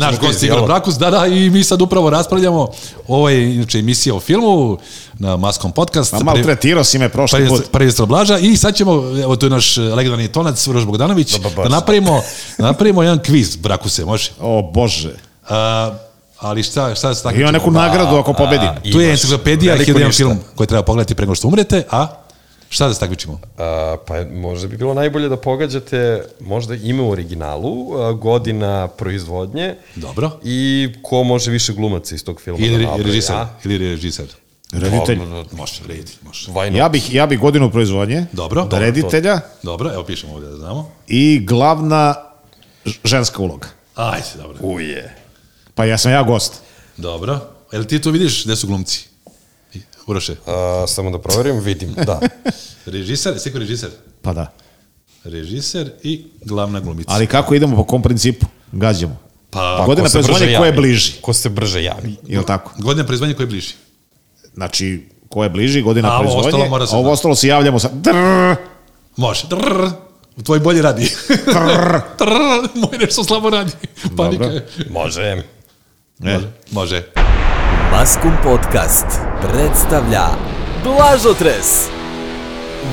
Naš gost Igor Brakus, da, da, i mi sad upravo raspravljamo, ovo je inače emisija o filmu na Maskom podcast. A malo tretirao si me prošli Prvi, put. prvi Blaža i sad ćemo, evo tu je naš legendarni tonac, Vrož Bogdanović, Dobar da baš. napravimo, da napravimo jedan kviz, Brakuse, može? O bože. A, ali šta, šta se tako... Ima neku nagradu ako pobedi. Tu je Imaš enciklopedija, veliko jedan ništa. film koji treba pogledati pre nego što umrete, a šta da se takmičimo? A, pa je- možda bi bilo najbolje da pogađate možda ime u originalu, a, godina proizvodnje Dobro. i ko može više glumaca iz tog filma. Ili da re- napravi, režiser, a? ili režiser. Reditelj. Dobro, Može, redi, može. Why not? Ja bih, ja bih godinu proizvodnje. Dobro. Da reditelja Dobro, evo pišemo ovdje da znamo. i glavna ž- ženska uloga. Ajde, dobro. Uje. Pa ja sam ja gost. Dobro. Jel ti to vidiš gde su glumci? I- Uroše. A, samo da proverim, vidim, da. Režiser, jesi rekao režiser? Pa da. Režiser i glavna glumica. Ali kako idemo po kom principu? Gađamo. pa, Godina Ko se brže proizvodnje ko je javi. bliži. Ko se brže javi. Je li tako? godina proizvodnje koji je bliži. Znači, ko je bliži, godina A ovo proizvodnje. ostalo mora se a ovo znati. ostalo se javljamo sa... E. Drrr, Može. Drrr. Tvoj bolje radi. drrr. Trrr, moj nešto slabo radi. Panika. je. Može. E, Može. Može. Maskum Podcast predstavlja Blažotres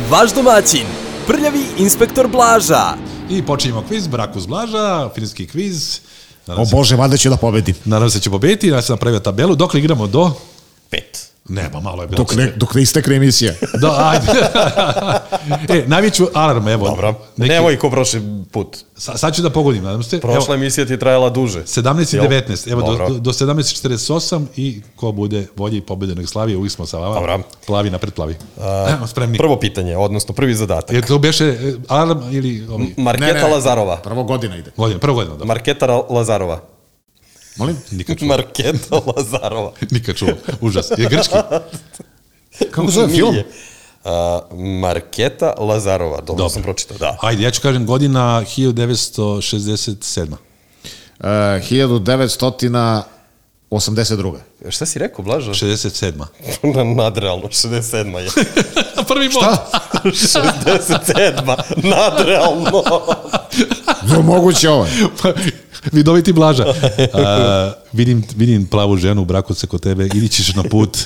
Vaš domaćin, prljavi inspektor Blaža I počinjemo kviz, Brakus Blaža, finski kviz. Nadam o se, bože, valjda ću da pobedim. nadam se će pobediti, ja sam napravio tabelu. Dokle igramo do? Pet. Nema, malo je bilo. Dok ne, dok ne istekne emisija. Da, ajde. e, naviću alarm, evo. Dobro. Neki- Nemoj ko prošli put. Sa- sad ću da pogodim, nadam se. Evo, Prošla emisija ti je trajala duže. 17 i Jel? 19, evo do, Dobro. do 17.48 i ko bude bolji i pobede nego Slavije, uvijek smo sa vama. Dobro. Plavi napred plavi. Evo, spremni. Prvo pitanje, odnosno prvi zadatak. Jer to beše e, alarm ili ovaj, Marketa Lazarova. Prvo godina ide. godina, prvo godina. Da. Marketa Ra- Lazarova. Molim? Nikad čuo. Marketa Lazarova. Nikad čuo. Užas. Je grčki? Kako se zove Nije. film? A, Marketa Lazarova, dobro, Dobro. sam pročitao, da. Ajde, ja ću kažem godina 1967. Uh, 1982. Šta si rekao, Blažo? 67. Na nadrealno, 67 je. Prvi bod. 67 nadrealno. Zar moguće ovaj. ovo? je? Pa, Vidoviti Blaža. A, vidim, vidim plavu ženu u braku se kod tebe, ili ćeš na put.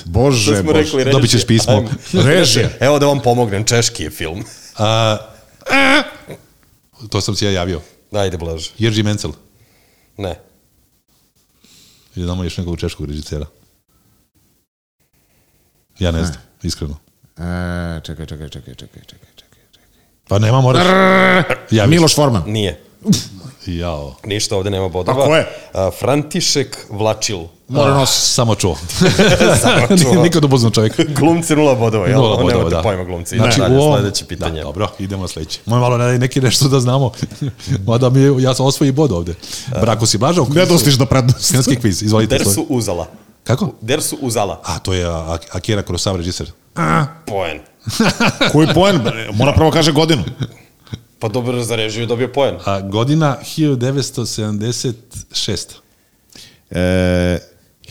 Bože, To smo bože. rekli, režije. Dobit ćeš pismo. Ajme. Režija. Evo da vam pomognem, češki je film. A, e, to sam si ja javio. Ajde, Blažo. Jerži Mencel. Ne. I znamo još nekog češkog režisera. Ja ne znam, iskreno. E, čekaj, čekaj, čekaj, čekaj, čekaj, čekaj. čekaj. Pa nema, moraš. Javiš. Miloš Forman. Nije. Jao. Ništa, ovde nema bodova. A ko je? A, František Vlačil. Mora Ah, nos. Samo čuo. Samo čuo. Nikad upoznao čovjeka. glumci nula bodova, jel? Nula bodova, Nemate da. pojma glumci. Znači, Dalje, u ovom... sledeće pitanje. Da, dobro, idemo na sledeće. Moj malo ne, neki nešto da znamo. Mada mi, je- ja sam osvoji bod ovde. Braku si blažao. Ne dostiš do prednosti. Skenski kviz, izvolite. Der svoj. su uzala. Kako? Der su uzala. A, to je A- Akira Kurosawa režiser. Poen. Koji poen? Mora prvo kaže godinu. Pa dobro, za režiju je dobio poen. A, godina 1976. E,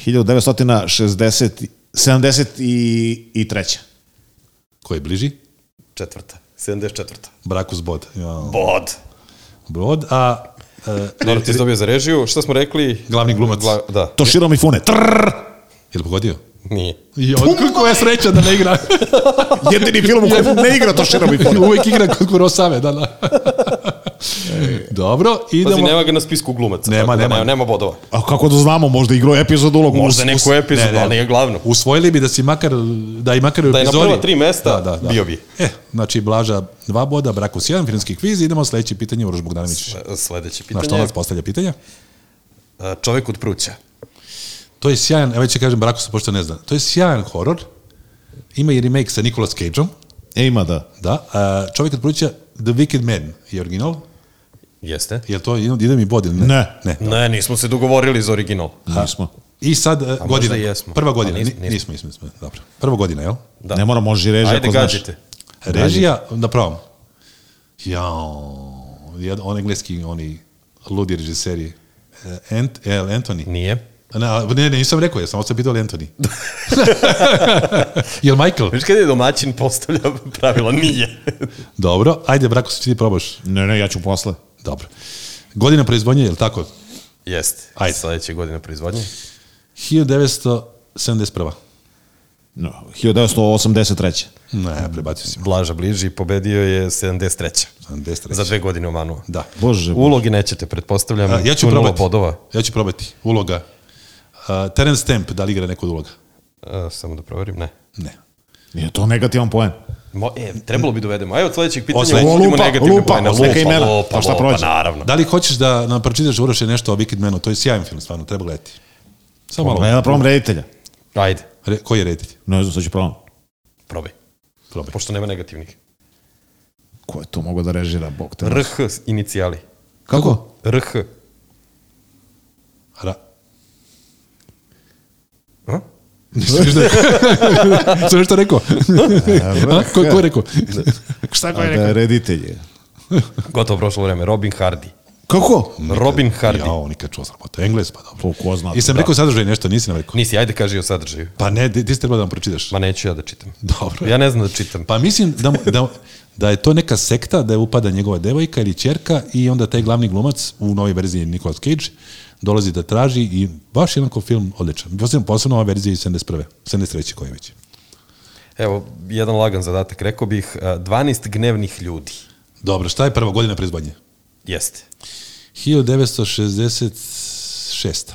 1960 70 i, i treća. Ko je bliži? Četvrta. 74. Brakus bod. Ja, Bod. Bod, a e, Dobro, ti si dobio za režiju. Šta smo rekli? Glavni glumac. Gla- da, Toshiro Mifune. Trrr! je li pogodio? nije. I kako je sreća da ne igra. Jedini film u kojem ne igra Toshiro Mifune. Uvijek igra kod Kurosave, da, da. Dobro, idemo. Pazi, nema ga na spisku glumaca. Nema, tako da nema. Nema, nema bodova. A kako da znamo, možda igrao epizod ulogu. Možda Us- neku us- epizodu, ne, ne. ali nije glavno. Usvojili bi da si makar, da i makar u Da je na epizodi- prva tri mesta, da, da, da. bio bi. E, znači Blaža dva boda, Brakus jedan, filmski kviz, idemo sledeće pitanje, Uroš Bogdanović. E, Sledeće Na pitanje. što je, nas postavlja pitanja? a, Čovek od pruća. To je sjajan, evo ću kažem Brakusu, pošto ne zna, to je sjajan horor, ima i remake sa Nicolas Cageom, E, ima da. da, a, čovjek od pruća The Wicked Man je original, Jeste? je to, ide mi bod ili ne? Ne. ne. Ne, nismo se dogovorili za original. Nismo. I sad, e, godina, možda i jesmo. prva godina, A nis- nismo, nismo, nismo, nismo, dobro, prva godina, jel? Da. Ne mora, može i režija Ajde, ako znaš. gađite. Režija, da pravom. Jao, jed- on engleski, oni ludi režiseri. E, Ant, El Anthony. Nije. Na, ne, ne, nisam rekao, ja sam ostavio pitao El Anthony. Jel Michael? Viš kada je domaćin postavlja pravila? Nije. Dobro, ajde, brako se ti probaš. Ne, ne, ja ću posle. Dobro. Godina proizvodnje, je li tako? Jeste. Ajde. Sledeće godine proizvodnje. 1971. No, 1983. Ne, prebacio si. Blaža bliži, pobedio je 73. 73. Za dve godine u Manu. Da. Bože, Ulogi nećete, pretpostavljam. A, ja ću tu nula probati. bodova. Ja ću probati. Uloga. Uh, Terence Stamp, da li igra neko od uloga? A, samo da proverim, ne. Ne. nije to negativan poen. Mo, e, trebalo bi dovedemo. Ajde, od sledećeg pitanja Od sledećeg. uvodimo Lupa, negativne lupa, poene. od neka imena. Pa šta prođe? naravno. Da li hoćeš da nam pročitaš uroše nešto o Wicked Manu? To je sjajan film, stvarno, treba gledati. Samo Ne malo. da probam reditelja. Ajde, Re, koji je reditelj? Ne znam, sad ću probam. probaj. Probaj. Pošto nema negativnih. Ko je to mogao da režira, bog te? R. RH inicijali. Kako? RH. Ra. A? Nisam ništa rekao. Sam nešto rekao. E, A, ko, ko je rekao? Šta ko je rekao? Da je reditelj. je. Gotovo prošlo vreme. Robin Hardy. Kako? Robin Hardy. Jao, nikad čuo sramota. Engles, pa dobro. Po, ko zna. I sam rekao sadržaj nešto, nisi nam rekao. Nisi, ajde kaži o sadržaju. Pa ne, ti ti si trebalo da nam pročitaš. Ma neću ja da čitam. Dobro. Ja ne znam da čitam. Pa mislim da, mu- da, da je to neka sekta, da je upada njegova devojka ili čerka i onda taj glavni glumac u novoj verziji Nicolas Cage dolazi da traži i baš jedan ko film odličan. Posebno, posebno ova verzija iz 71. 73. koja je već. Evo, jedan lagan zadatak. Rekao bih a, 12 gnevnih ljudi. Dobro, šta je prva godina proizvodnje? Jeste. 1966.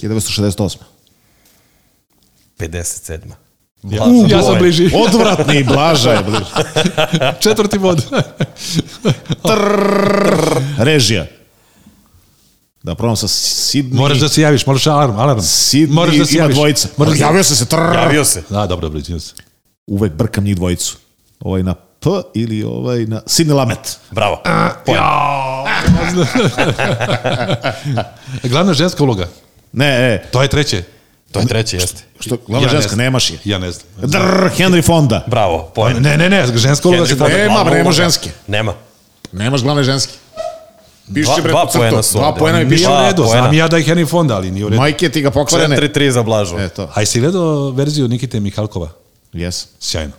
1968. 57. Pa, Ja, Blaža ja sam Bojan. bliži. Odvratni i blaža je. bliže. Četvrti bod. Režija. Da probam sa Sidney. Moraš da se javiš, moraš alarm, alarm. Sidney moraš da se ima javiš. dvojica. Moraš da... Javio sam se. Trrr. Javio se. Da, dobro, dobro, izvinjam se. Uvek brkam njih dvojicu. Ovaj na P ili ovaj na Sidney Lamet. Bravo. Glavna ženska uloga. Ne, e, To je treće. To je treće, jeste. što, glavna Ja ne ženska, znam. nemaš je. Ja ne znam. Drr, Henry Fonda. Bravo. Poen. Ne, ne, ne, ženska uloga se tada... Nema, bre, nema ženske. Nema. Nemaš glavne ženske. Piši Dva- bre dva po crtu. poena su Dva ovde. poena mi piši. Nije Dva u redu, Pa, poena. znam i ja da je Henry Fonda, ali nije u redu. Majke ti ga Pa pokvarene. 4-3 za Blažu. E to. A jesi gledao verziju Nikite Mihalkova? Jes. Sjajno,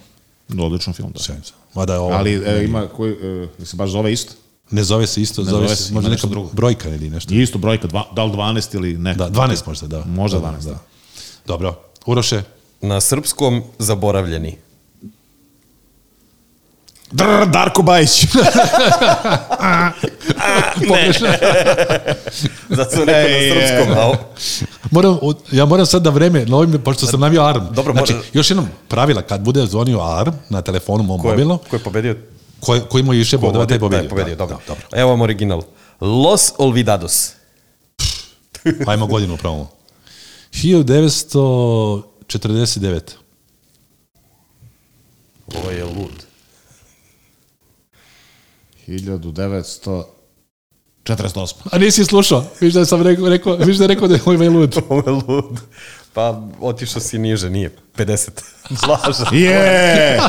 Odličan film, da. sjajno. Mada je ovo, Ali e, ima koji, e, se baš zove isto. ne zove se isto, zove, zove se, se, možda ima neka nešto drugo. brojka ili nešto. Je isto brojka, dva, da li 12 ili ne. Da, 12 možda, da. Možda Da, 12, da. Dobro. Uroše, Na srpskom zaboravljeni. Drr, Darko Bajić. Ne. Zato sam rekao na Ej, srpskom. A, o- moram, od- ja moram sad da vreme, na ovim, pošto sam navio alarm. Dobro, znači, može- još jednom, pravila, kad bude zvonio alarm na telefonu mom ko, je, mobilnom, ko je pobedio? koji ko ima više bodova, taj je Da, pobedio. je pobedio, Da, dobro. da, dobro. Evo vam original. Los Olvidados. Ajmo godinu pravimo. 1949. Ovo je lud. 1948. A nisi slušao, viš da sam rekao, rekao, viš da je rekao da je moj mail lud. Ovo je lud. Pa otišao si niže, nije. 50. Blaža. Je!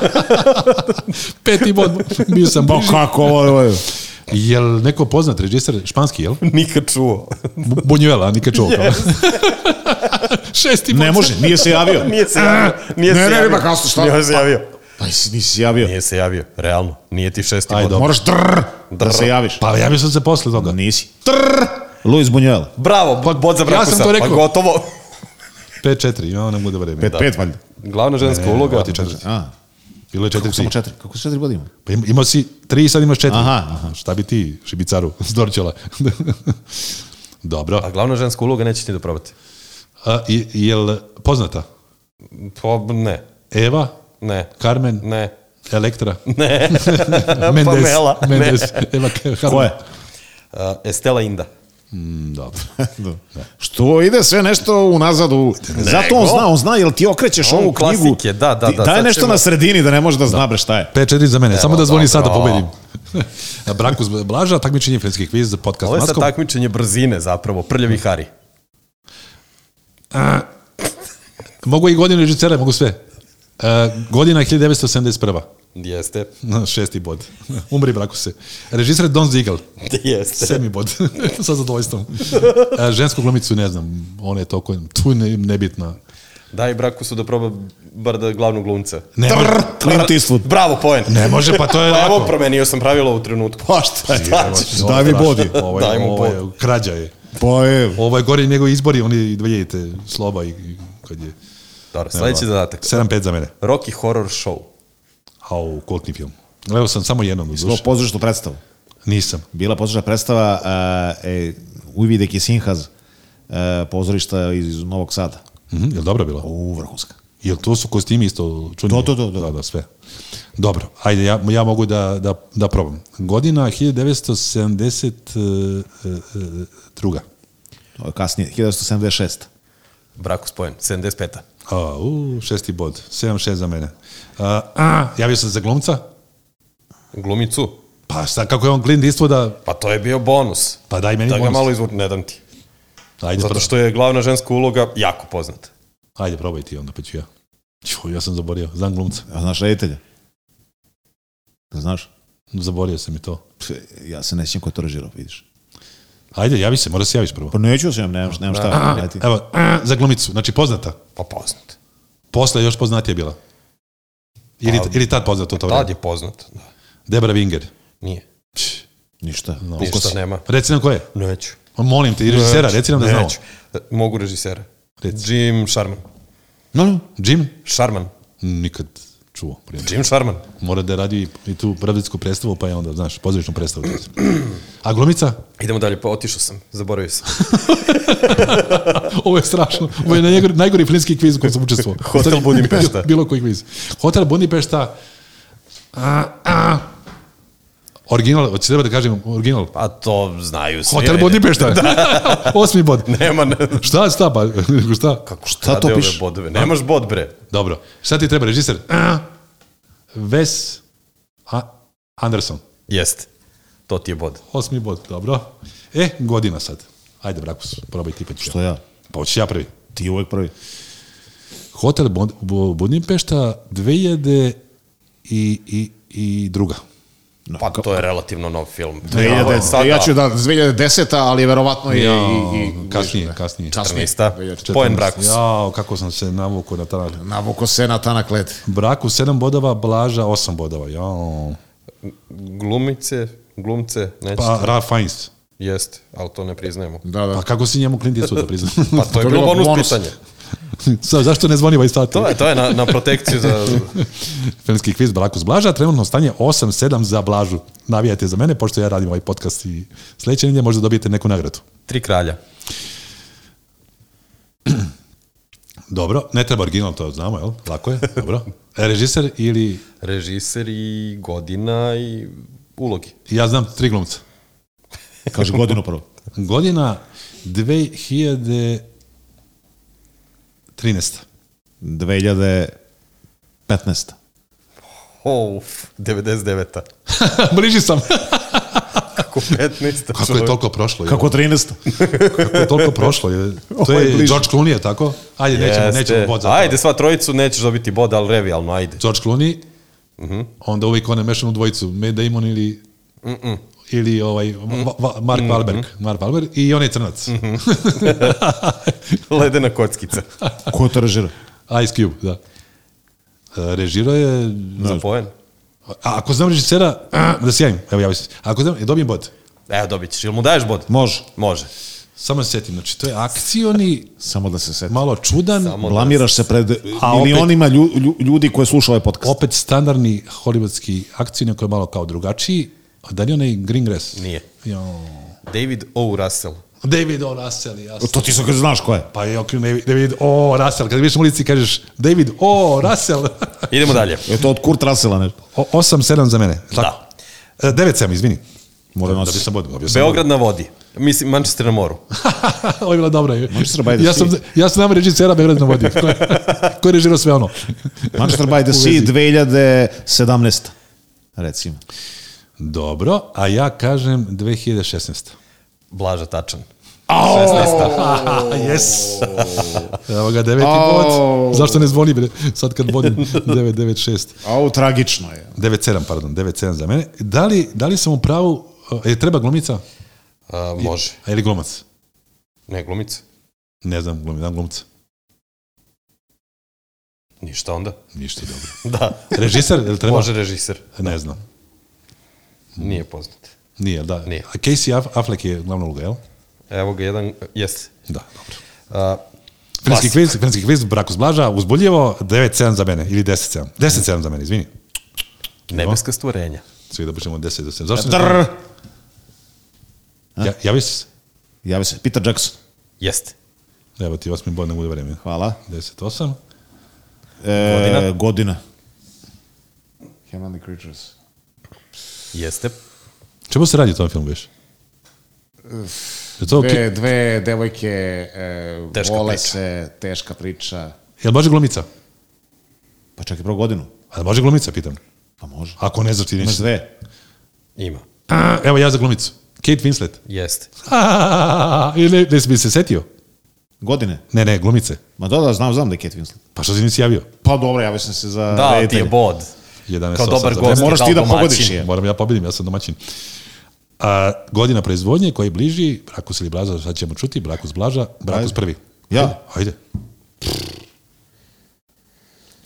Peti bod, bio sam Pa bliži. kako ovo je? ovo je? Jel neko poznat režiser, španski, jel? Nikad čuo. Bu- Buñuela, nikad čuo. Šesti bod. Ne može, nije se javio. Nije se javio. Nije Ne, se ne, ne, javio. pa kao što, šta? Nije se javio. Pa nisi, nisi se javio. Nije se javio. Realno. Nije ti šesti Aj, bod. dobro. Moraš drr, da se javiš. Pa javio sam se posle toga. Nisi. Trr! Luis Buñuel. Bravo, Pa, bod za ja brakusa. sam to rekao. Pa gotovo. 5-4, ja ne bude vreme. 5 valjda. Glavna ženska Ne, ne, uloga. oti četiri. A, Bilo je kako samo 4-3. 4? Kako se 4 bodima? Pa im- imao si 3, sad imaš 4. Aha, aha. Šta bi ti, šibicaru, s Dorćola? Dobro. A Pa glavna ženska uloga nećete da probate. A, i- jel poznata? Pa ne. Eva, Ne. Carmen, Ne. Elektra, Ne. Mendes, Pamela, ne. Mendes, Eva Carmen. Ko je? A, E, Estela Inda. Mm, Dobro. Što ide sve nešto unazad u... Zato on zna, on zna, jel ti okrećeš On ovu knjigu. klasike, da, da, da, Daj sad nešto ćemo- na sredini da ne može da zna bre šta je. 5-4 za mene, samo da zvoni dobro. sad da pobedim. Brankus Blaža, takmičenje filmskih kviz za podcast Ovo je sad Maskom. takmičenje brzine zapravo. Prljavi Hari. Mogu i godinu režisera, mogu sve. Uh, godina je 1971. Jeste. Šesti bod. Umri, Brakuse. Režiser Don Ziegel. Jeste. Sedmi bod. E, Sa zadovoljstvom. Uh, žensku glumicu ne znam. Ona je toliko tu ne, nebitna. Daj braku su da proba bar da glavnog glumca. Ne, može, Clint Eastwood. Bravo, poen. ne može, pa to je Pa evo, lako. promenio sam pravilo u trenutku. Pa šta je? Šta ćeš? Ovo je Daj mi strašno. body. Ovo Daj je, mu ovo je, krađa je. Pa je, Ovo je gore nego izbori, oni vidite, sloba i, i kad je... Dobro, sledeći zadatak. 7-5 za mene. Rocky Horror Show. Au, kultni film. Gledao sam samo jednom do bilo duše. pozorišnu predstavu. Nisam. Bila pozorišna predstava uh, e, Uvidek i Sinhaz uh, pozorišta iz Novog Sada. Mhm, jel dobro bilo? U, vrhunska. Jel to su kostimi isto čudni? Da, da, da, da. da, sve. Dobro, ajde, ja, ja mogu da, da, da probam. Godina e, 1972. e, To je Kasnije, 1976. Braku spojen, 75-a. A, u, šesti bod, 7-6 za mene. A, a, javio sam se za glumca, Glumicu. pa šta, kako je on Clint Eastwooda, Pa to je bio bonus. pa daj meni da ga bonus. malo izvor, ne dam ti. Ajde, pa Zato pro- što je glavna ženska uloga jako poznata. ajde, probaj ti onda, pa ću ja. Ću, ja sam zaborio, znam glumca, A znaš reditelja? Da znaš? zaborio sam i to. Pf, ja se ne sjećam ko je to režirao, vidiš. Ajde, javi se, mora se javiš prvo. Pa neću se, nemam, nemam šta. A, ne ti. evo, a, za glumicu, znači poznata. Pa poznat. Posle još poznatija bila. Ili, Pa- ili tad poznata u to Tad vreme. je poznat. Da. Debra Winger. Nije. Ništa. Ništa nema. Reci nam ko je. Neću. Molim te, i režisera, reci nam da znamo. Neću. Mogu režisera. Reci. Jim Sharman. No, no. Jim? Sharman. Nikad čuo. prije. Jim Sharman. Mora da radi i tu bradovsku predstavu, pa je onda, znaš, pozorišnu predstavu. A glumica? Idemo dalje, pa otišao sam, zaboravio sam. Ovo je strašno. Ovo je najgori, najgori filmski kviz u kojem sam učestvovao. Hotel Budimpešta. Bilo koji kviz. Hotel Budimpešta. A, a. Original, hoće treba da kažem original. Pa to znaju svi. Hotel ajde. Budimpešta. Osmi bod. Nema, ne. Šta, šta, pa, šta? Kako Šta to rade ove piše? Bodove? Nemaš bod, bre. Dobro. Šta ti treba, režiser? A, Wes A- Anderson. Jeste. To ti je bod. Osmi bod, dobro. E, godina sad. Ajde, Brakus, probaj ti pa ću. Što ja. ja? Pa hoćeš ja prvi. Ti uvek prvi. Hotel Bond, Bu- Budimpešta 2000 i, i, i druga. Pa to je relativno nov film. Ovo je 2010. sada Ja ću Znači, da 2010. ali verovatno je Ja, i, i, i kasnije, kasnije. 14. Poen Brakus. Jao, kako sam se navukao na taj. Navuko se na tanak led. Braku 7 bodova, Blaža 8 bodova. Jao. Glumice, glumce, nećete. Pa Ralph Fiennes. Jeste, ali to ne priznajemo. Da, da. Pa kako si njemu Clint Eastwood da priznam? Pa to je bilo bonus, pitanje. Sa, zašto ne zvoni ovaj sat? To je, to je na, na protekciju za... Filmski kviz Brakus Blaža, trenutno stanje 8-7 za Blažu. Navijajte za mene, pošto ja radim ovaj podcast i sledeće nedelje možda dobijete neku nagradu. Tri kralja. Dobro, ne treba original, to znamo, jel? Lako je, dobro. E, Režiser ili... Režiser i godina i ulogi. Ja znam tri glumca. Kaže godinu prvo. Godina 2013. 2015. Oh, uf, 99-a. Bliži sam. Kako 15-a Kako je toliko prošlo? Kako, Kako 13. Kako je toliko prošlo? Je, to Ovo je je bliže. George Clooney, je tako? Ajde, nećemo, nećemo bod za to. Ajde, sva trojicu nećeš dobiti bod, ali revijalno, ajde. George Clooney, Mhm. onda uvijek one mešanu dvojicu, Matt Damon ili ili ovaj Va- Va- Mark Wahlberg, Mark Wahlberg i on je crnac. Ledena kockica. Ko je to režira? Ice Cube, da. E, Režirao je... Za poen. A ako znam režisera, da sjajim, evo javi se. Ako znam, e, dobijem bod. Evo, dobit ćeš. Ili mu daješ bod? Može. Može. Samo da se sjetim, znači to je akcioni, Samo da se seti. malo čudan, Samo da- Blamiraš se pred A opet- milionima lju- lju- ljudi koje slušaju ovaj podcast. opet standardni hollywoodski akcioni koji je malo kao drugačiji. A da li je onaj Greengrass? Nije. Jo. David O. Russell. David O. Russell, jasno. To ti sad kad znaš ko je. Pa je okrenuo David, David O. Russell. Kad vidiš u ulici kažeš David O. Russell. Idemo dalje. Je to od Kurt Russella nešto. O, 8-7 za mene. Tako. Da. 9-7, izvini. Mora Da bi nositi. sam bodio. Bio sam Beograd na vodi. Mislim, Manchester na moru. bodio. Ovo je bila dobra. Manchester by the ja sam, Sea. ja sam nam režisera Beograd na vodi. Ko je, ko je režirao sve ono? Manchester by the U Sea vezi. 2017. Recimo. Dobro, a ja kažem 2016. Blaža Tačan. 16. yes. Evo ga, deveti bod. Zašto ne zvoni bre? Sad kad vodim 996. Au, tragično je. 97, pardon, 97 za mene. Da li, da li sam u pravu, e, je treba glumica? A, može. A je li glumac? Ne, glumica. Ne znam, glumi, znam glumca. Ništa onda. Ništa dobro. Da. Režisar, jel treba? Može režiser. Ne znam. Nije poznat. Nije, da. Nije. A Casey Aff- Affleck je glavna uloga, jel? Evo ga jedan, jeste. Da, dobro. A, Filmski Klasik. kviz, filmski kviz, braku zblaža, uzbuljivo, 9-7 za mene, ili 10-7. 10-7 za mene, izvini. nebeska stvorenja. Svi da počnemo od 10 do 7. Zašto ne? Trrr! Ja, javi se. Javi se, Peter Jackson. Jeste. Evo ti osmi bod, ne bude vremena. Hvala. 10-8. E, Godina? Godina. Heavenly ono Creatures. Jeste. Čemu se radi u tom filmu, viš? Je to okay? Dve, dve devojke e, Teška vole priča. se, teška priča. Jel može glumica? Pa čak i prvo godinu. A jel može glumica, pitam. Pa može. Ako ne znaš ti Imaš ništa. dve. Ima. A, Evo ja za glumicu. Kate Winslet. Jeste. Ili ne bi se setio? Godine. Ne, ne, glumice. Ma da, da, znam, znam da je Kate Winslet. Pa što se nisi javio? Pa dobro, javio sam se za Da, ti je reditelja. bod. 11 Kao dobar za gost. mene. Moraš dao ti da domaćin. pogodiš je. Moram ja pobedim, ja sam domaćin. A, godina proizvodnje koji je bliži, Brakus ili Blaža, sad ćemo čuti, Brakus Blaža, Brakus Ajde. prvi. Ja? Ajde.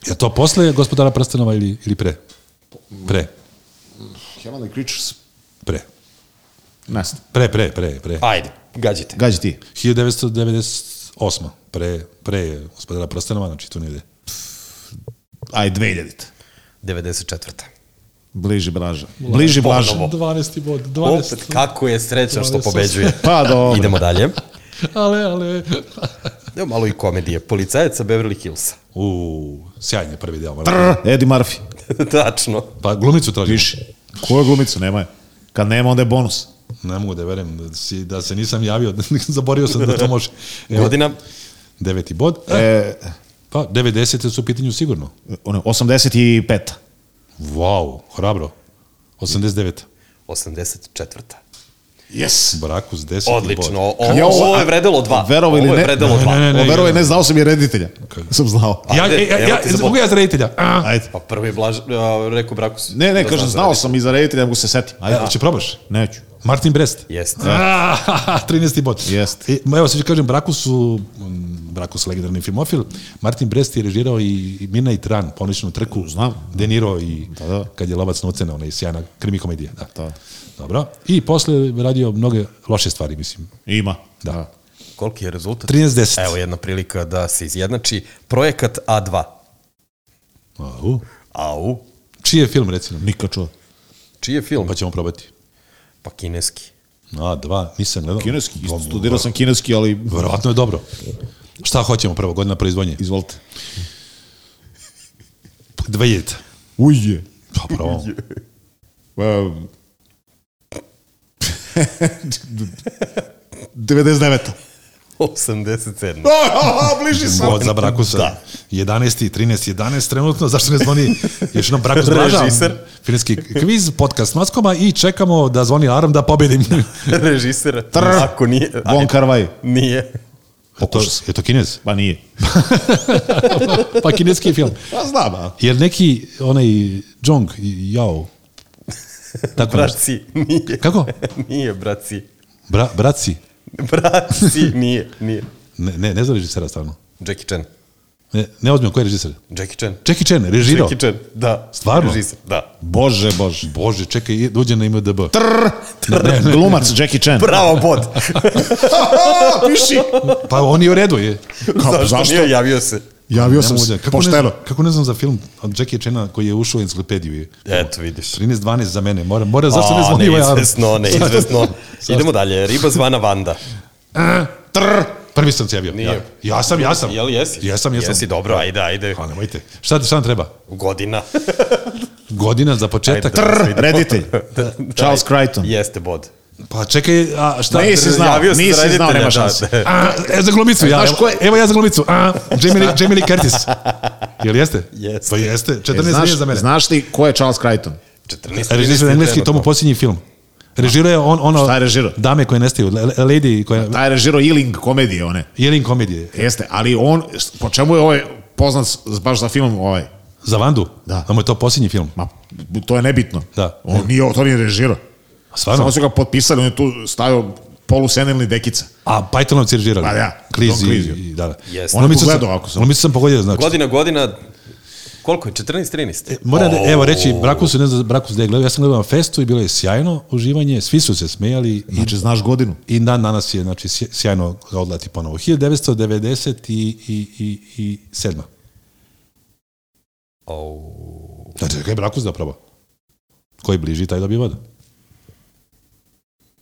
Je to posle gospodara prstenova ili, ili pre? Pre, Heavenly Creatures. pre. Ne znam. Pre, pre, pre, pre. Ajde, gađite. Gađi ti. 1998. Pre, pre je gospodara prstenova, znači tu negde. Aj, 2000. 94. Bliži Blaža. Bliži Blaža. 12. bod, 12. Opet, kako je srećan što pobeđuje. Pa dobro. Idemo dalje. Ale, ale. Evo malo i komedije. Policajac sa Beverly Hillsa. U, sjajan je prvi deo. moram Eddie Murphy. Tačno. Pa glumicu tražim. Više. Koju glumicu nema je? Kad nema, onda je bonus. Ne mogu da verujem da, si, da se nisam javio, zaborio sam da to može. Evo, Godina Deveti bod. E, Pa, 90. su u pitanju sigurno. ono, 85. Wow, hrabro. 89. 84. Yes. Brakus, 10. Odlično. Bod. Ovo, ovo, je vredelo dva. Verovo ili ovo je ne- vredelo Ne, dva. ne, ne, ne. Verovaj, ne znao sam je reditelja. Sam znao. Ja, ja, Ajde, ja, ja, evo ti za bod. mogu ja za reditelja. A, Ajde. Pa prvi blaž, uh, rekao braku si. Ne, ne, da kažem, znaš da znao radi. sam i za reditelja, mogu se setim. Ajde, Će probaš? neću. Martin Brest. Jeste. A, 13. bod. Jeste. E, ma evo sad ću kažem Brakusu, m, Brakus legendarni filmofil, Martin Brest je režirao i i Mina i Tran, poničnu trku. Znam. Deniro i da, da. kad je lovac novcena, ona je sjajna krimi komedija. Da. Da. Dobro. I posle radio mnoge loše stvari, mislim. Ima. Da. Koliki je rezultat? 13-10. Evo jedna prilika da se izjednači. Projekat A2. Au. Au. Čiji je film, recimo? Nikad čuo. Čiji je film? Pa ćemo probati. Pa kineski. A, dva, nisam gledao. Kineski, isto Dobro, studirao sam kineski, ali Verovatno je dobro. Šta hoćemo prvo, godina proizvodnje? izvolite. 2000. Uje. Pa pravo. Um, 99. 87. Bliži sam. Bod za Brakusa. Da. 11. 13. 11. trenutno, zašto ne zvoni još nam Brakus Blaža? Režiser. Filmski kviz, podcast Noskoma i čekamo da zvoni alarm da pobedim. Režiser. Trr. Ako nije. Von Karvaj. Nije. Je to, je to kinez? Pa nije. Pa kineski je film. Pa znam, a. Jer neki, onaj, Jong, Jao, tako nešto. Braci, nije. Kako? Nije, braci. Bra, braci. Braci, nije, nije. Ne, ne, ne znam režisera stvarno. Jackie Chan. Ne, ne ozbiljno, koji je režiser? Jackie Chan. Jackie Chan, režirao. Jackie Chan, da. Stvarno? Režiser, da. Bože, bože. Bože, čekaj, i- uđe na IMDB. Glumac Jackie Chan. Bravo, bod. Piši. Pa on je u redu, je. Kao, pa zašto, zašto? nije javio se? Javio sam Nemoj da- se. kako ne, Pošteno. znam- kako ne znam za film od Jackie Chana koji je ušao u enciklopediju. je. Eto, vidiš. 13-12 za mene, mora, mora, zašto ne A, zvoni ovaj alarm? Neizvesno, neizvesno. Idemo dalje. Riba zvana Vanda. Trr, prvi sam se javio. Nije. Ja, ja sam, ja sam. Jel jesi? Jesam, jesam. Jesi, dobro, ajde, ajde. Pa nemojte. Šta, šta nam treba? Godina. Godina za početak. Ajde, Trr. dobro. Reditelj. Charles Crichton. Jeste bod. Pa čekaj, a šta? Nisi Trr, znao, javio- se nisi za znao, reditelja, nema šanse. da. A, e, za glumicu, ja. znaš Evo, ko je- evo ja za glumicu. A, Jamie, Lee, Jamie Lee Curtis. Jel jeste? Jeste. Pa jeste. 14 E, znaš, znaš, za mene. znaš ti ko je Charles Crichton? 14. Režisir engleski, to mu posljednji film. Režirao je on, ono... Šta je režirao? Dame koje nestaju, le- le- lady koja... Taj je režirao Ealing komedije one. Jelin komedije. Jeste, ali on, po čemu je ovaj poznat s- baš za filmom ovaj? Za Vandu? Da. Da mu je to posljednji film. Ma, to je nebitno. Da. On nije, to nije režirao. Stvarno? Samo su ga potpisali, on je tu stavio polusenilni dekica. A Pythonovci režirali. Pa da, Klizi. Don Klizio. i- Da, da. Jeste. Ono Neko mislim sam- gledao ako sam- Ono mislim sam pogodio, znači. Godina, godina, Koliko je? 14, 13? E, Moram da, evo reći, Brakus, ne znam, Brakus da je gledao, ja sam gledao na festu i bilo je sjajno uživanje, svi su se smejali i, Znači, znaš godinu. i dan danas je znači, sj- sjajno ga odlati ponovo. 1990 i, i, i, i sedma. Au. Znači, kaj je Brakus zapravo? Koji bliži, taj dobije voda.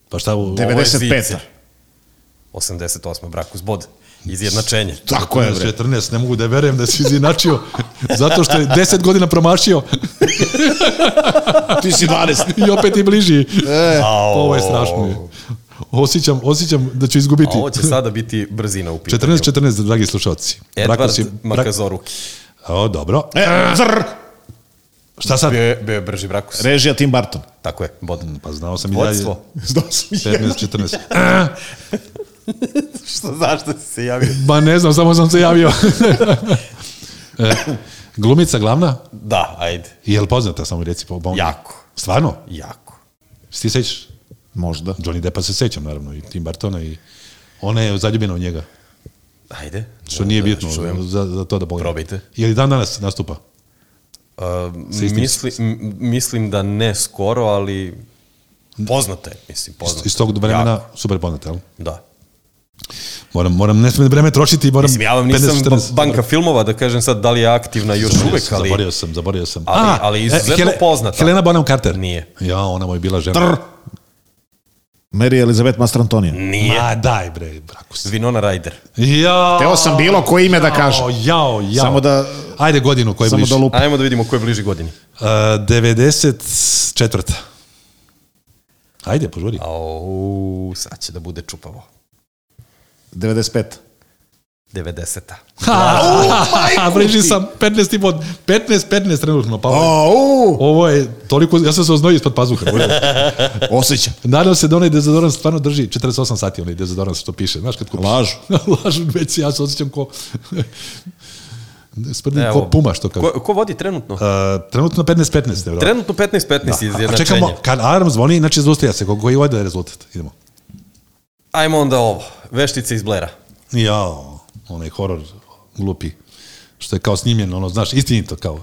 Pa šta, u, Ovo je 95. zicer. 88. Brakus bod. Izjednačenje. Tako je, bre. 14, ne mogu da verujem da si izinačio, zato što je 10 godina promašio Ti si 12. i opet i bliži. Au. Ovo je strašno. Osjećam, osjećam da ću izgubiti. A ovo će sada biti brzina u pitanju. 14-14, dragi slušalci. Brakus Edvard je- je... Makazoruki. O, dobro. E, zr! Šta sad? Bio je, bio je brži Brakus. Režija Tim Barton. Tako je, bod. Pa znao sam i dalje. Vodstvo. 15-14. Što, zašto si se javio? Ba ne znam, samo sam se javio. E, Glumica glavna, Da, ajde. je li poznata samo reci po bombi? Jako. Stvarno? Jako. Si Ti sećaš? Možda. Johnny Deppa se sećam naravno i Tim Bartona i ona je zaljubljena u njega. Ajde. Što nije Da bitno čujem. za, za to da pogledam. Probajte. Je li dan danas nastupa? Uh, istim- misli, m- mislim da ne skoro, ali poznata je, mislim, poznata. Iz tog vremena Jako, super poznata, jel? da. Moram, moram, ne smijem vreme trošiti, moram... Mislim, ja vam nisam 15, 14. ba- banka filmova, da kažem sad da li je aktivna još Zaboravio uvek, sam, ali Zaboravio sam, zaboravio sam. Ali- A, e, ali izuzetno poznata. Helena Bonham Carter. Nije. Ja, ona mu je bila žena. Tr! Mary Elizabeth Mastrantonija. Mm. nije. Ma daj bre, brakus. Winona Ryder. Ja. Teo sam bilo koje ime da kažem. Jao, jao. Samo da- Ajde godinu koja je Samo bliže. da lupa. Ajmo da vidimo ko je bliži godini. Uh, 94. Ajde, požuri. Au, sad će da bude čupavo. 95. 90-a. A, bliži sam 15 i pod. 15, 15 trenutno. Pa, ovo je- Au! ovo je toliko, ja sam se oznojio ispod pazuha. Osjećam. Nadam Pa se da onaj dezodorans stvarno drži 48 sati onaj dezodorans što piše. Znaš kad kupiš. Lažu. Lažu, već se ja se osjećam ko... Sprdim ko Evo. puma što kaže. Ko, ko vodi trenutno? Uh, trenutno 15-15 evra. Trenutno 15-15 da. A izjednačenje. čekamo, kad alarm zvoni, znači zaustavlja se, koji je ovaj rezultat. Idemo. Ajmo onda ovo. Veštice iz Blera. Jao, onaj horor glupi, što je kao snimljeno, ono, znaš, istinito kao.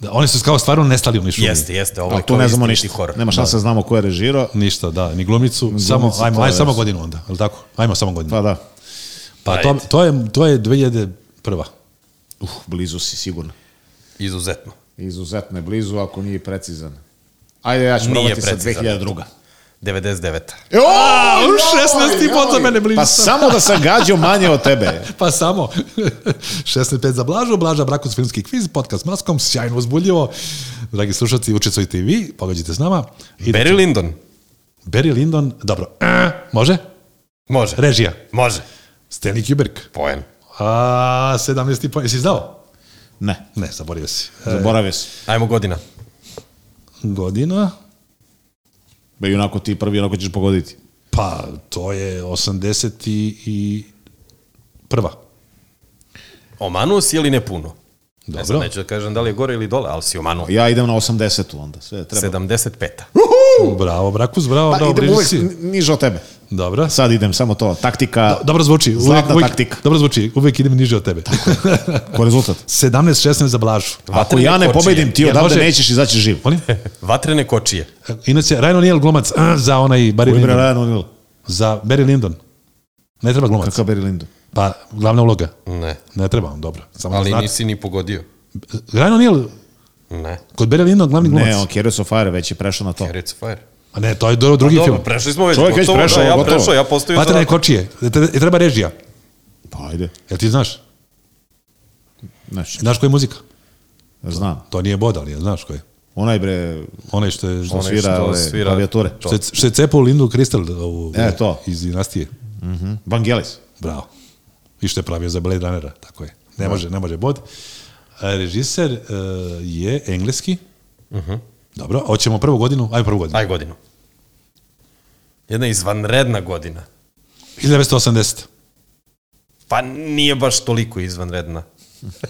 Da, oni su kao stvarno nestali u onoj šumi. Jeste, jeste. Ovo Ali je tu kao ne znamo istiniti ništa. horor. Nema šanse da znamo ko je režirao. Ništa, da, ni glumicu, samo, Glumicu, ajmo, to je ajmo samo res. godinu onda, je li tako? Ajmo samo godinu. Pa Pa, da. to, pa ajde. to, je, to je 2001. Uh, blizu si sigurno. Izuzetno. Izuzetno je blizu, ako nije precizan. Ajde, ja ću Nije probati sa precizan. 2002. 99-a. E, A, u 16 i pod za mene blizu. Pa Pa, samo da sam gađao manje od tebe. pa samo. 16.5 za Blažu, Blaža Brakus filmski kviz, podcast Maskom, sjajno uzbuljivo. Dragi slušalci, učestvujte i vi, pogađajte s nama. I Barry Lyndon. Barry Lyndon, dobro. E, može? Može. Režija. Može. Stanley Kubrick. Poen. A, 17 i po, jesi znao? Ne, Ne, zaboravio si. E, zaboravio si. Ajmo godina. godina, Be, onako ti prvi, onako ćeš pogoditi. pa to je 80 i, i prva. Omanuo si ili ne puno? Ne znam, Dobro. neću da kažem da li je gore ili dole, ali si omanuo. Ja idem na 80-u onda, sve Pa treba. 75-a. Bravo, Brakus, bravo, Pa bravo, idem bliži uvek si. ni- niže od tebe. Dobro. Sad idem samo to, taktika, Dobro zvuči. Uvijek, Zlatna uvijek, taktika. Dobro zvuči, uvijek idem niže od tebe. ko rezultat. 17-16 za Blažu. Pa Ako Vatrene ja ne kočije. pobedim, ti Jel odavde može- nećeš izaći živ. Molim? Vatrene kočije. Inače, Ryan O'Neill glumac a, za onaj Barry Oliver Lyndon. Ryan O'Neill. Za Barry Lyndon. Ne treba glumac. Kakav Barry Lyndon? Pa, glavna uloga. Ne. Ne treba on, dobro. Samo da Ali znate. nisi ni pogodio. Ryan O'Neill, Ne. kod Barry Lyndon glavni glumac. Ne, on Carrots of Fire već je prešao na to. Rec Fire. A ne, to je dobro drugi Dobro, film. prešli smo već. Čovjek već gotovo, da, prešao, ja gotovo. prešao, ja postoju Vatrene kočije. E, tre- e, Treba režija. Pa ajde, Jel ti znaš? znači, Znaš koja je muzika? znam. To nije bod, ali je, znaš koja je. Onaj bre, Onaj što je... on Što, Onaj svira što ove svira- klavijature. to. je, što je cepao Lindu Kristal ovu, E, to. iz dinastije. Mhm. Vangelis. Bravo. I što je pravio za Blade Runnera, tako je. Ne može, ne može bod. A, Režiser e, je engleski. Mhm. Dobro, hoćemo prvu godinu, ajmo prvu godinu. Aj godinu. Jedna izvanredna godina. 1980. Pa nije baš toliko izvanredna.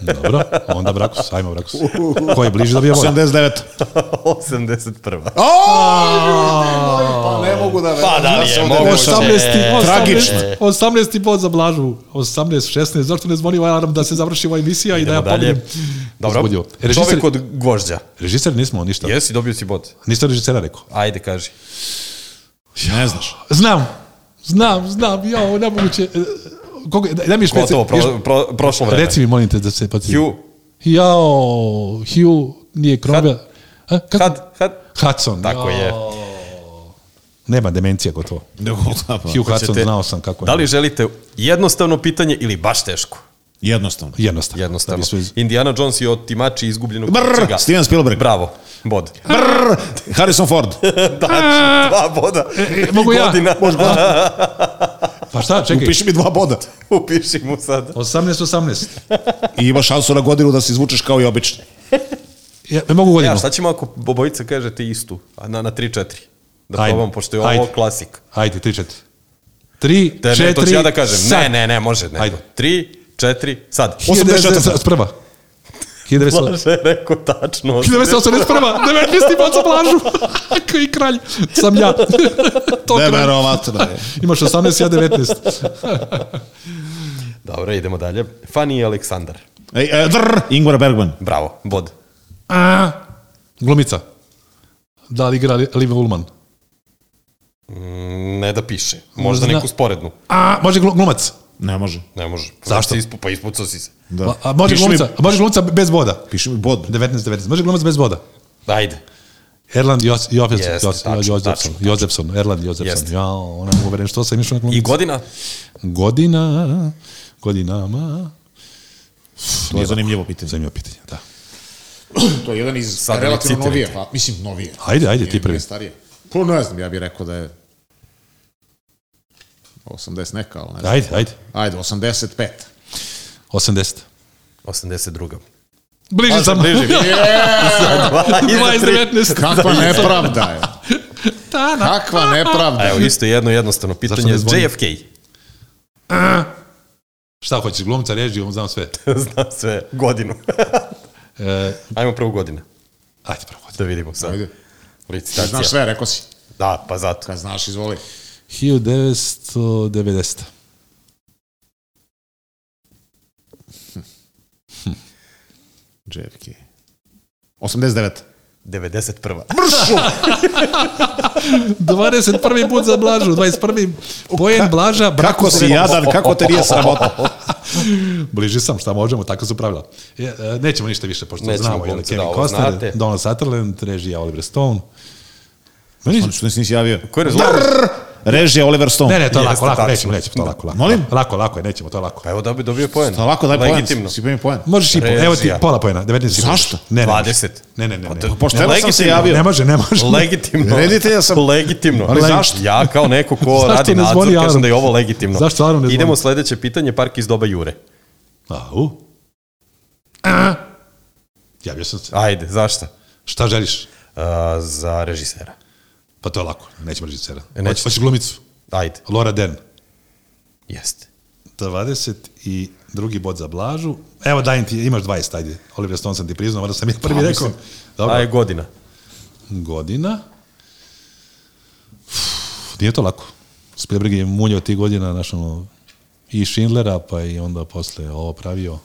Dobro, onda Brakus, ajmo Brakus. Ko je bliži dobija bod? 89. 81. Pa ne mogu da Pa da li je moguće? 18. tragično. 18. bod za Blažu. 18, 16. Zašto ne zvoni ovaj alarm da se završi ova emisija i da ja Idemo dalje. pobedim? Dobro, Uzbudio. Režiser, čovjek od gvožđa. režiser nismo ništa. Jesi, dobio si bod. Ništa režisera rekao. Ajde, kaži. Ne znaš. Znam, znam, znam, ja, ovo je nemoguće. E, Koga, daj, daj mi još pet Gotovo, pro, još- pro, prošlo vreme. Reci mi, molim te, da se podsjetim. Hugh. Jao, Hugh, nije Krombe. Ha, kako? Kad, kad? Hudson. Tako jao. je. Nema demencija gotovo. Hugh Hudson, znao sam kako je. Da li želite jednostavno pitanje ili baš teško? Jednostavno. Jednostavno. Da Jednostavno. bi sve iz- Indiana Jones i otimači izgubljenog Brr, kovčega. Steven Spielberg. Bravo, bod. Brr, Harrison Ford. Tačno, dva boda. I E, mogu ja? godina. Pa šta, čekaj. Upiši mi dva boda. Upiši mu sad. 18, 18. I imaš šansu na godinu da se izvučeš kao i obično. Ja, ne mogu godinu. Ja, šta ćemo ako obojica kažete istu? A Na, na 3-4. Da Ajde. probam, pošto je ovo Ajde. klasik. Ajde, 3, 4. 3, Da, 4, ne, to ću ja da kažem. Ne, ne, ne, može. Ne. Ajde. 3, 4, sad. 84. Prva. 1900. Blaže je rekao tačno. 1981. 19. bod za plažu. Koji kralj. Sam ja. to kralj. Neverovatno je. Imaš 18, ja 19. Dobro, idemo dalje. Fani i Aleksandar. Ej, e, drr, Ingvar Bergman. Bravo, bod. A, glumica. Da li igra Li- Liv Ullman? Mm, Ne da piše. Možda Zna- neku sporednu. A, može glu- glumac. Ne može. Ne može. Zašto? Si Ispu, pa ispucao si se. Da. A, može Piši mi- glumica, a može glumica bez boda. Piši mi bod. 19, 19. Može glumac bez boda. Ajde. Erland Jos, Jofes, Jeste, Jos, tačno, Jozefson, tačno, tačno. Jozefson, Erland Jozefson. Jeste. Ja, ona mogu veren što sam išao na I glumicu. godina? Godina, godinama. To je zanimljivo pitanje. Zanimljivo pitanje, da. To je jedan iz Sad relativno citirajte. novije, pa mislim novije. Ajde, ajde, ti Nije- prvi. nije starije. Pa ne znam, ja bih rekao da je 80 neka, ali ne znam. Ajde, ajde. Ajde, 85. 80. 82. Bliži sam. bliži, bliži. Dva iz 19. Kakva nepravda je. Da, da. Kakva nepravda Evo, je. isto jedno jednostavno pitanje. ne zvoni? JFK. Šta hoćeš, glumca, režiju, znam sve. Zna sve. Godinu. E, Ajmo prvu godinu. ajde, prvo. godinu. Da vidimo sad. Ajde. Ti Licitacija. znaš sve, rekao si. Da, pa zato. Kad znaš, izvoli. 1990. JFK. 89. 91. 21. put za Blažu, 21. poen Blaža, Kako si jadan, kako te nije sramota? Bliži sam, šta možemo, tako su pravila. E, e, Nećemo ništa više, pošto Nećemo znamo, jel, glumce, da, Kevin ovo znate. Costner, Donald Sutherland, režija Oliver Stone. Meni, Ono što nisi nisi javio. Koji je rezultat? Režija Oliver Stone. ne, ne, to je Jeste, lako, lako, tačno. nećemo, nećemo, to je lako, lako. Molim? Lako, lako je, nećemo, to je lako. Pa evo da bi dobio poen. Pa lako daj Legitimno. poen. Si mi poen. Možeš i po, Režija. evo ti pola pojena, 19 i po. Zašto? Ne, ne, 20. Ne, ne, ne, ne. to- Pošto sam se Legitimno. javio. Ne može, ne može. Legitimno. Reditelja sam. Legitimno. Ali zašto? Ja kao neko ko Zašto radi ne nadzor zvoni kažem alarm? da je ovo legitimno. Zašto alarm ne zvoni? Idemo sledeće pitanje, park iz doba Jure. Au. Javio sam se. Ajde, zašta? Šta želiš? Uh, za režisera. Pa to je lako, nećemo režisera. E, nećete. Hoćeš hoćeš glumicu? Ajde, Laura Dern. jeste. 22. bod za Blažu. Evo dajem ti, imaš 20, ajde. Oliver Stone sam ti priznao, mada sam ja prvi rekao. Dobro. Aj, godina. Godina. Uf, nije to lako. Spielberg je munjao tih godina znaš, ono, i Schindlera, pa i onda posle ovo pravio.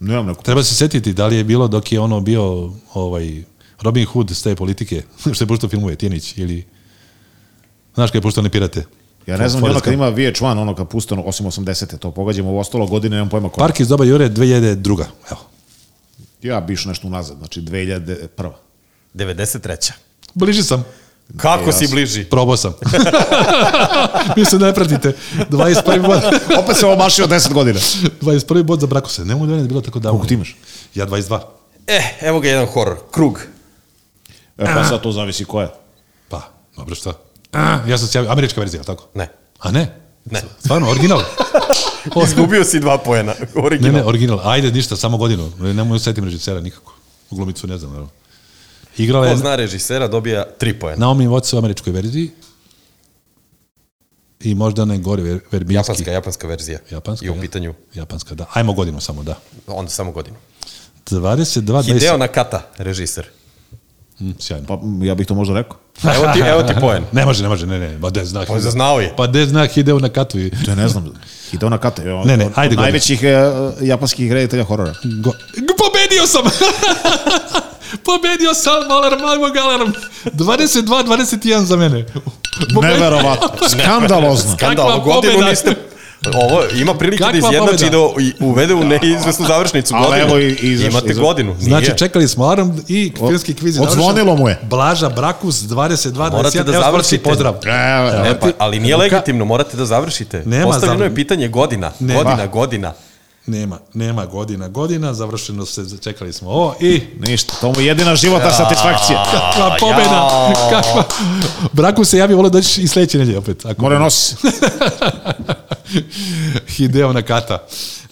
Nemam neku. Treba se setiti da li je bilo dok je ono bio ovaj Robin Hood s te politike, što je puštao filmuje, Tijenić, ili... Znaš kada je puštao ne pirate? Ja ne znam, ni ono Forrest kad Gump. ima VH1, ono kad pustano, osim 80. to pogađamo, u ostalo godine nemam pojma koja. Park iz doba Jure 2002. Evo. Ja bi išao nešto unazad, znači 2001. 93. Bliži sam. Kako si bliži? Probao sam. Mislim da ne pratite. 21. bod, Opet se omašio 10 godina. 21. bod za Brakuse. Ne mogu da je bilo tako davno. Koliko ti imaš? Ja 22. E, evo ga jedan horor. Krug. E, pa sad to zavisi ko je. Pa, dobro šta. Ja sam se javio, američka verzija, jel tako? Ne. A ne? Ne. Stvarno, original. Izgubio si dva poena. ne, Original. ne, original. Ajde, ništa, samo godinu. Ne mogu setim režisera nikako. U glumicu ne znam, naravno. Igrala je Ko zna režisera dobija tri poena. Naomi Watts u američkoj verziji. i možda ne gori ver, verbinski. Japanska, japanska verzija. Japanska, I u ja. pitanju, Japanska, da. Ajmo godinu samo, da. onda samo godinu. 22, Hideo 20... Nakata, režiser. Mm, sjajno. Pa ja bih to možda rekao. Evo ti, evo ti poen. Ne može, ne može, ne, ne. Pa de zna Pa Hideo. znao je. Pa de zna Hideo na katu. i- To je, ne znam, Hideo Nakata. je on- Ne, ne, od- od ajde, godine. Najvećih e, japanskih reditelja horora. Go... G- Pobedio sam! Pobedio sam, alarm, ajmo ga alarm. 22-21 za mene. Neverovatno. Skandalozno. Skandal, Kakva godinu pobeda? niste... Ovo ima prilike da Kakva izjednači pobeda? i da u- i uvede u neizvesnu završnicu Ali godine. evo i- izašlo, Imate izašlo. godinu. Nije. Znači, čekali smo alarm i filmski kviz je završen. odzvonilo mu je. Blaža Brakus, 22-21. Morate da Evo, sportski završite. Pozdrav. E, Ne, pa, ali nije legitimno, morate da završite. Nema Postavljeno zav- je pitanje godina. Nema. Godina, godina. Nema, nema godina, godina, završeno se, čekali smo ovo i Ništa, to mu je jedina životna satisfakcija. kakva pobjeda, kakva. Braku se javi, volio doći i sljedeće nedje opet. Ako Mora nosi. se. Hideo Nakata.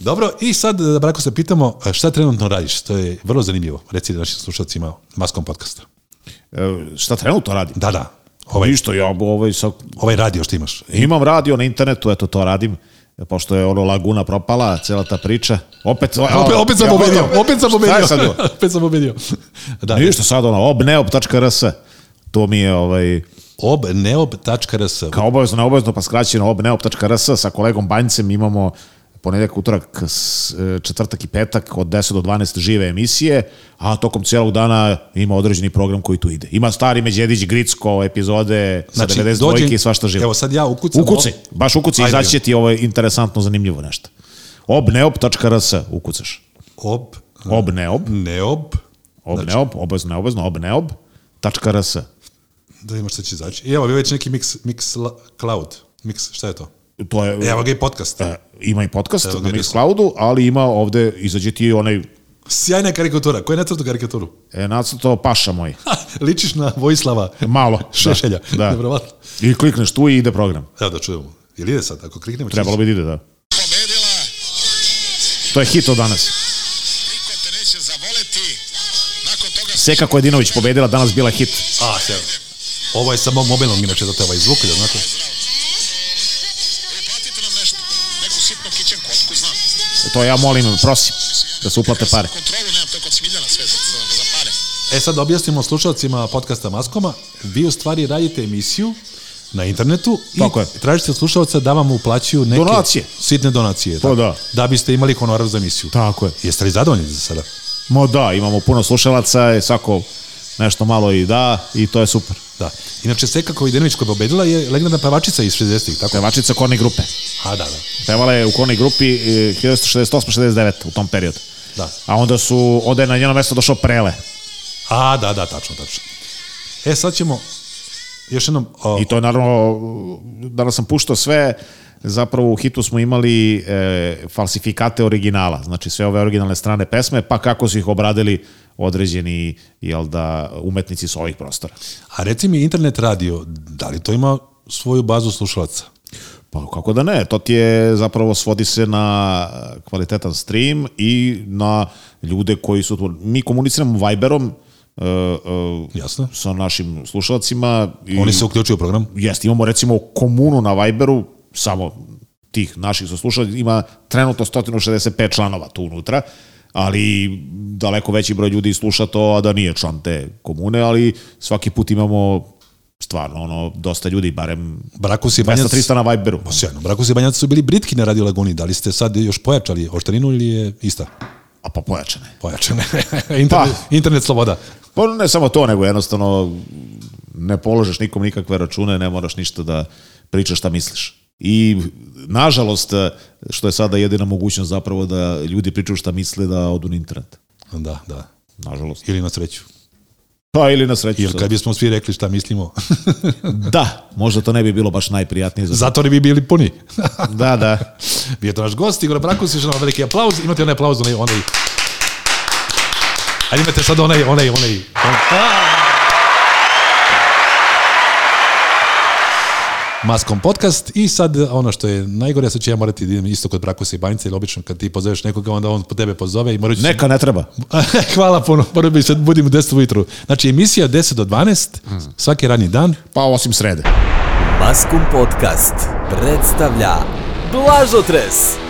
Dobro, i sad, e, Brako, se pitamo e, šta trenutno radiš, to je vrlo zanimljivo, reci našim slušalcima maskom podcasta. E, Šta trenutno radim? Da, da, Ovaj. ovaj, Ništa, ja ovaj sa ovaj radio što imaš. Imam radio na internetu, eto to radim, pošto je ono Laguna propala, cela ta priča. Opet, Opet, opet sam Ja, pobedio, ono, opet sam Šta je pobedio, sad ovo? opet sam pobedio. Da, znači, Ništa sad ono, obneob.rs, to mi je ovaj, obneob.rs, kao obavezno, neobavezno, pa skraćeno obneob.rs, sa kolegom Banjcem imamo ponedjeljak, utorak, s- e, četvrtak i petak od 10 do 12 žive emisije, a tokom cijelog dana ima određeni program koji tu ide. Ima stari Međedić, Gricko, epizode sa Znači, 92 dođe- i svašta živo. evo sad ja ukucam Ukuci, ovo. baš ukuci, Ajde. izaći će ti ovo interesantno, zanimljivo nešto. obneob.rs ukucaš. ob, Obneob, neob, obneob, obavezno, neobavezno, obneob.rs. da vidimo šta će izaći. I evo, bio je već neki mix, mix la- cloud, mix, šta je to? To je, Evo ga i podcast. E, ima i podcast Evo ga, na rekao. Mixcloudu, ali ima ovde, izađe ti i onaj Sjajna karikatura. Ko je nacrtao karikaturu? e, nacrtao paša moj. Ha, Ličiš na Vojislava Malo. Šešelja. Da. da. Nevjerovatno. I klikneš tu i ide program. Evo da čujemo. Jel ide sad? Ako kliknemo... će Trebalo ići. bi da ide, da. To je hit od danas. Niko te neće zavoleti. Nakon toga Seka Kojedinović pobedila, danas bila hit. A, sjajno. Ovo je samo mobilnog, inače, zato je ovaj zvuk, da znate. uplatite nam nešto. Neku sitnu kićen kotku, znam. To ja molim, prosim, da se uplate pare. Kontrolu nemam, to je kod Smiljana sve za, za, za pare. E sad da objasnimo slušalcima podcasta Maskoma. Vi u stvari radite emisiju na internetu i Tako je. tražite od slušalca da vam uplaćuju neke Donacije. sitne donacije. To da. Da biste imali honorar za emisiju. Tako je. Jeste li zadovoljni za sada? Mo da, imamo puno slušalaca, svako nešto malo i da i to je super. Da. Inače, Seka Kovidenović koja je pobedila je legendarna pevačica iz 60-ih, tako? Pevačica Korni grupe. A, da, da. Pevala je u Korni grupi e, 1968-69 u tom periodu. Da. A onda su, onda je na njeno mesto došao Prele. A, da, da, tačno, tačno. E, sad ćemo još jednom... O, I to je naravno, danas sam puštao sve, zapravo u hitu smo imali e, falsifikate originala, znači sve ove originalne strane pesme, pa kako su ih obradili određeni, jel da, umetnici s ovih prostora. a reci mi, internet radio, da li to ima svoju bazu slušalaca? Pa kako da ne, to ti je zapravo svodi se na kvalitetan stream i na ljude koji su tu. Mi komuniciramo Viberom e, e, Jasno. sa našim slušalcima. I Oni se uključuju u program? Jeste, imamo recimo komunu na Viberu, samo tih naših saslušalja, ima trenutno 165 članova tu unutra, ali daleko veći broj ljudi sluša to, a da nije član te komune, ali svaki put imamo stvarno ono, dosta ljudi, barem Brakus i Banjac... 200-300 na Viberu. Pa sjajno, Brakus i Banjac su bili britki na Radio Laguni, da li ste sad još pojačali oštrinu ili je ista? A pa pojačane. Pojačane. internet, internet sloboda. Pa ne samo to, nego jednostavno ne položeš nikom nikakve račune, ne moraš ništa da pričaš šta misliš. I nažalost, što je sada jedina mogućnost zapravo da ljudi pričaju šta misle da odu na internet. Da, da. Nažalost. Ili na sreću. Pa ili na sreću. Jer sad. kad bismo svi rekli šta mislimo, Da, možda to ne bi bilo baš najprijatnije. Za... zato ne bi bili puni. Da, da. Bio je to naš gost, Igor Brakus, još jedan veliki aplauz. Imate onaj aplauz, onaj, onaj... Ajde imate sad onaj, onaj, onaj... on- A! Maskom podcast i sad ono što je najgore, sad ću ja morati da idem isto kod Brakusa i Banjice, ili obično kad ti pozoveš nekoga, onda on po tebe pozove i morat ću se- Neka ne treba. Hvala puno, moram bi sad budim u 10 ujutru. Znači emisija 10 do 12, svaki radni dan, Pa osim srede. Maskum Podcast predstavlja Blažotres.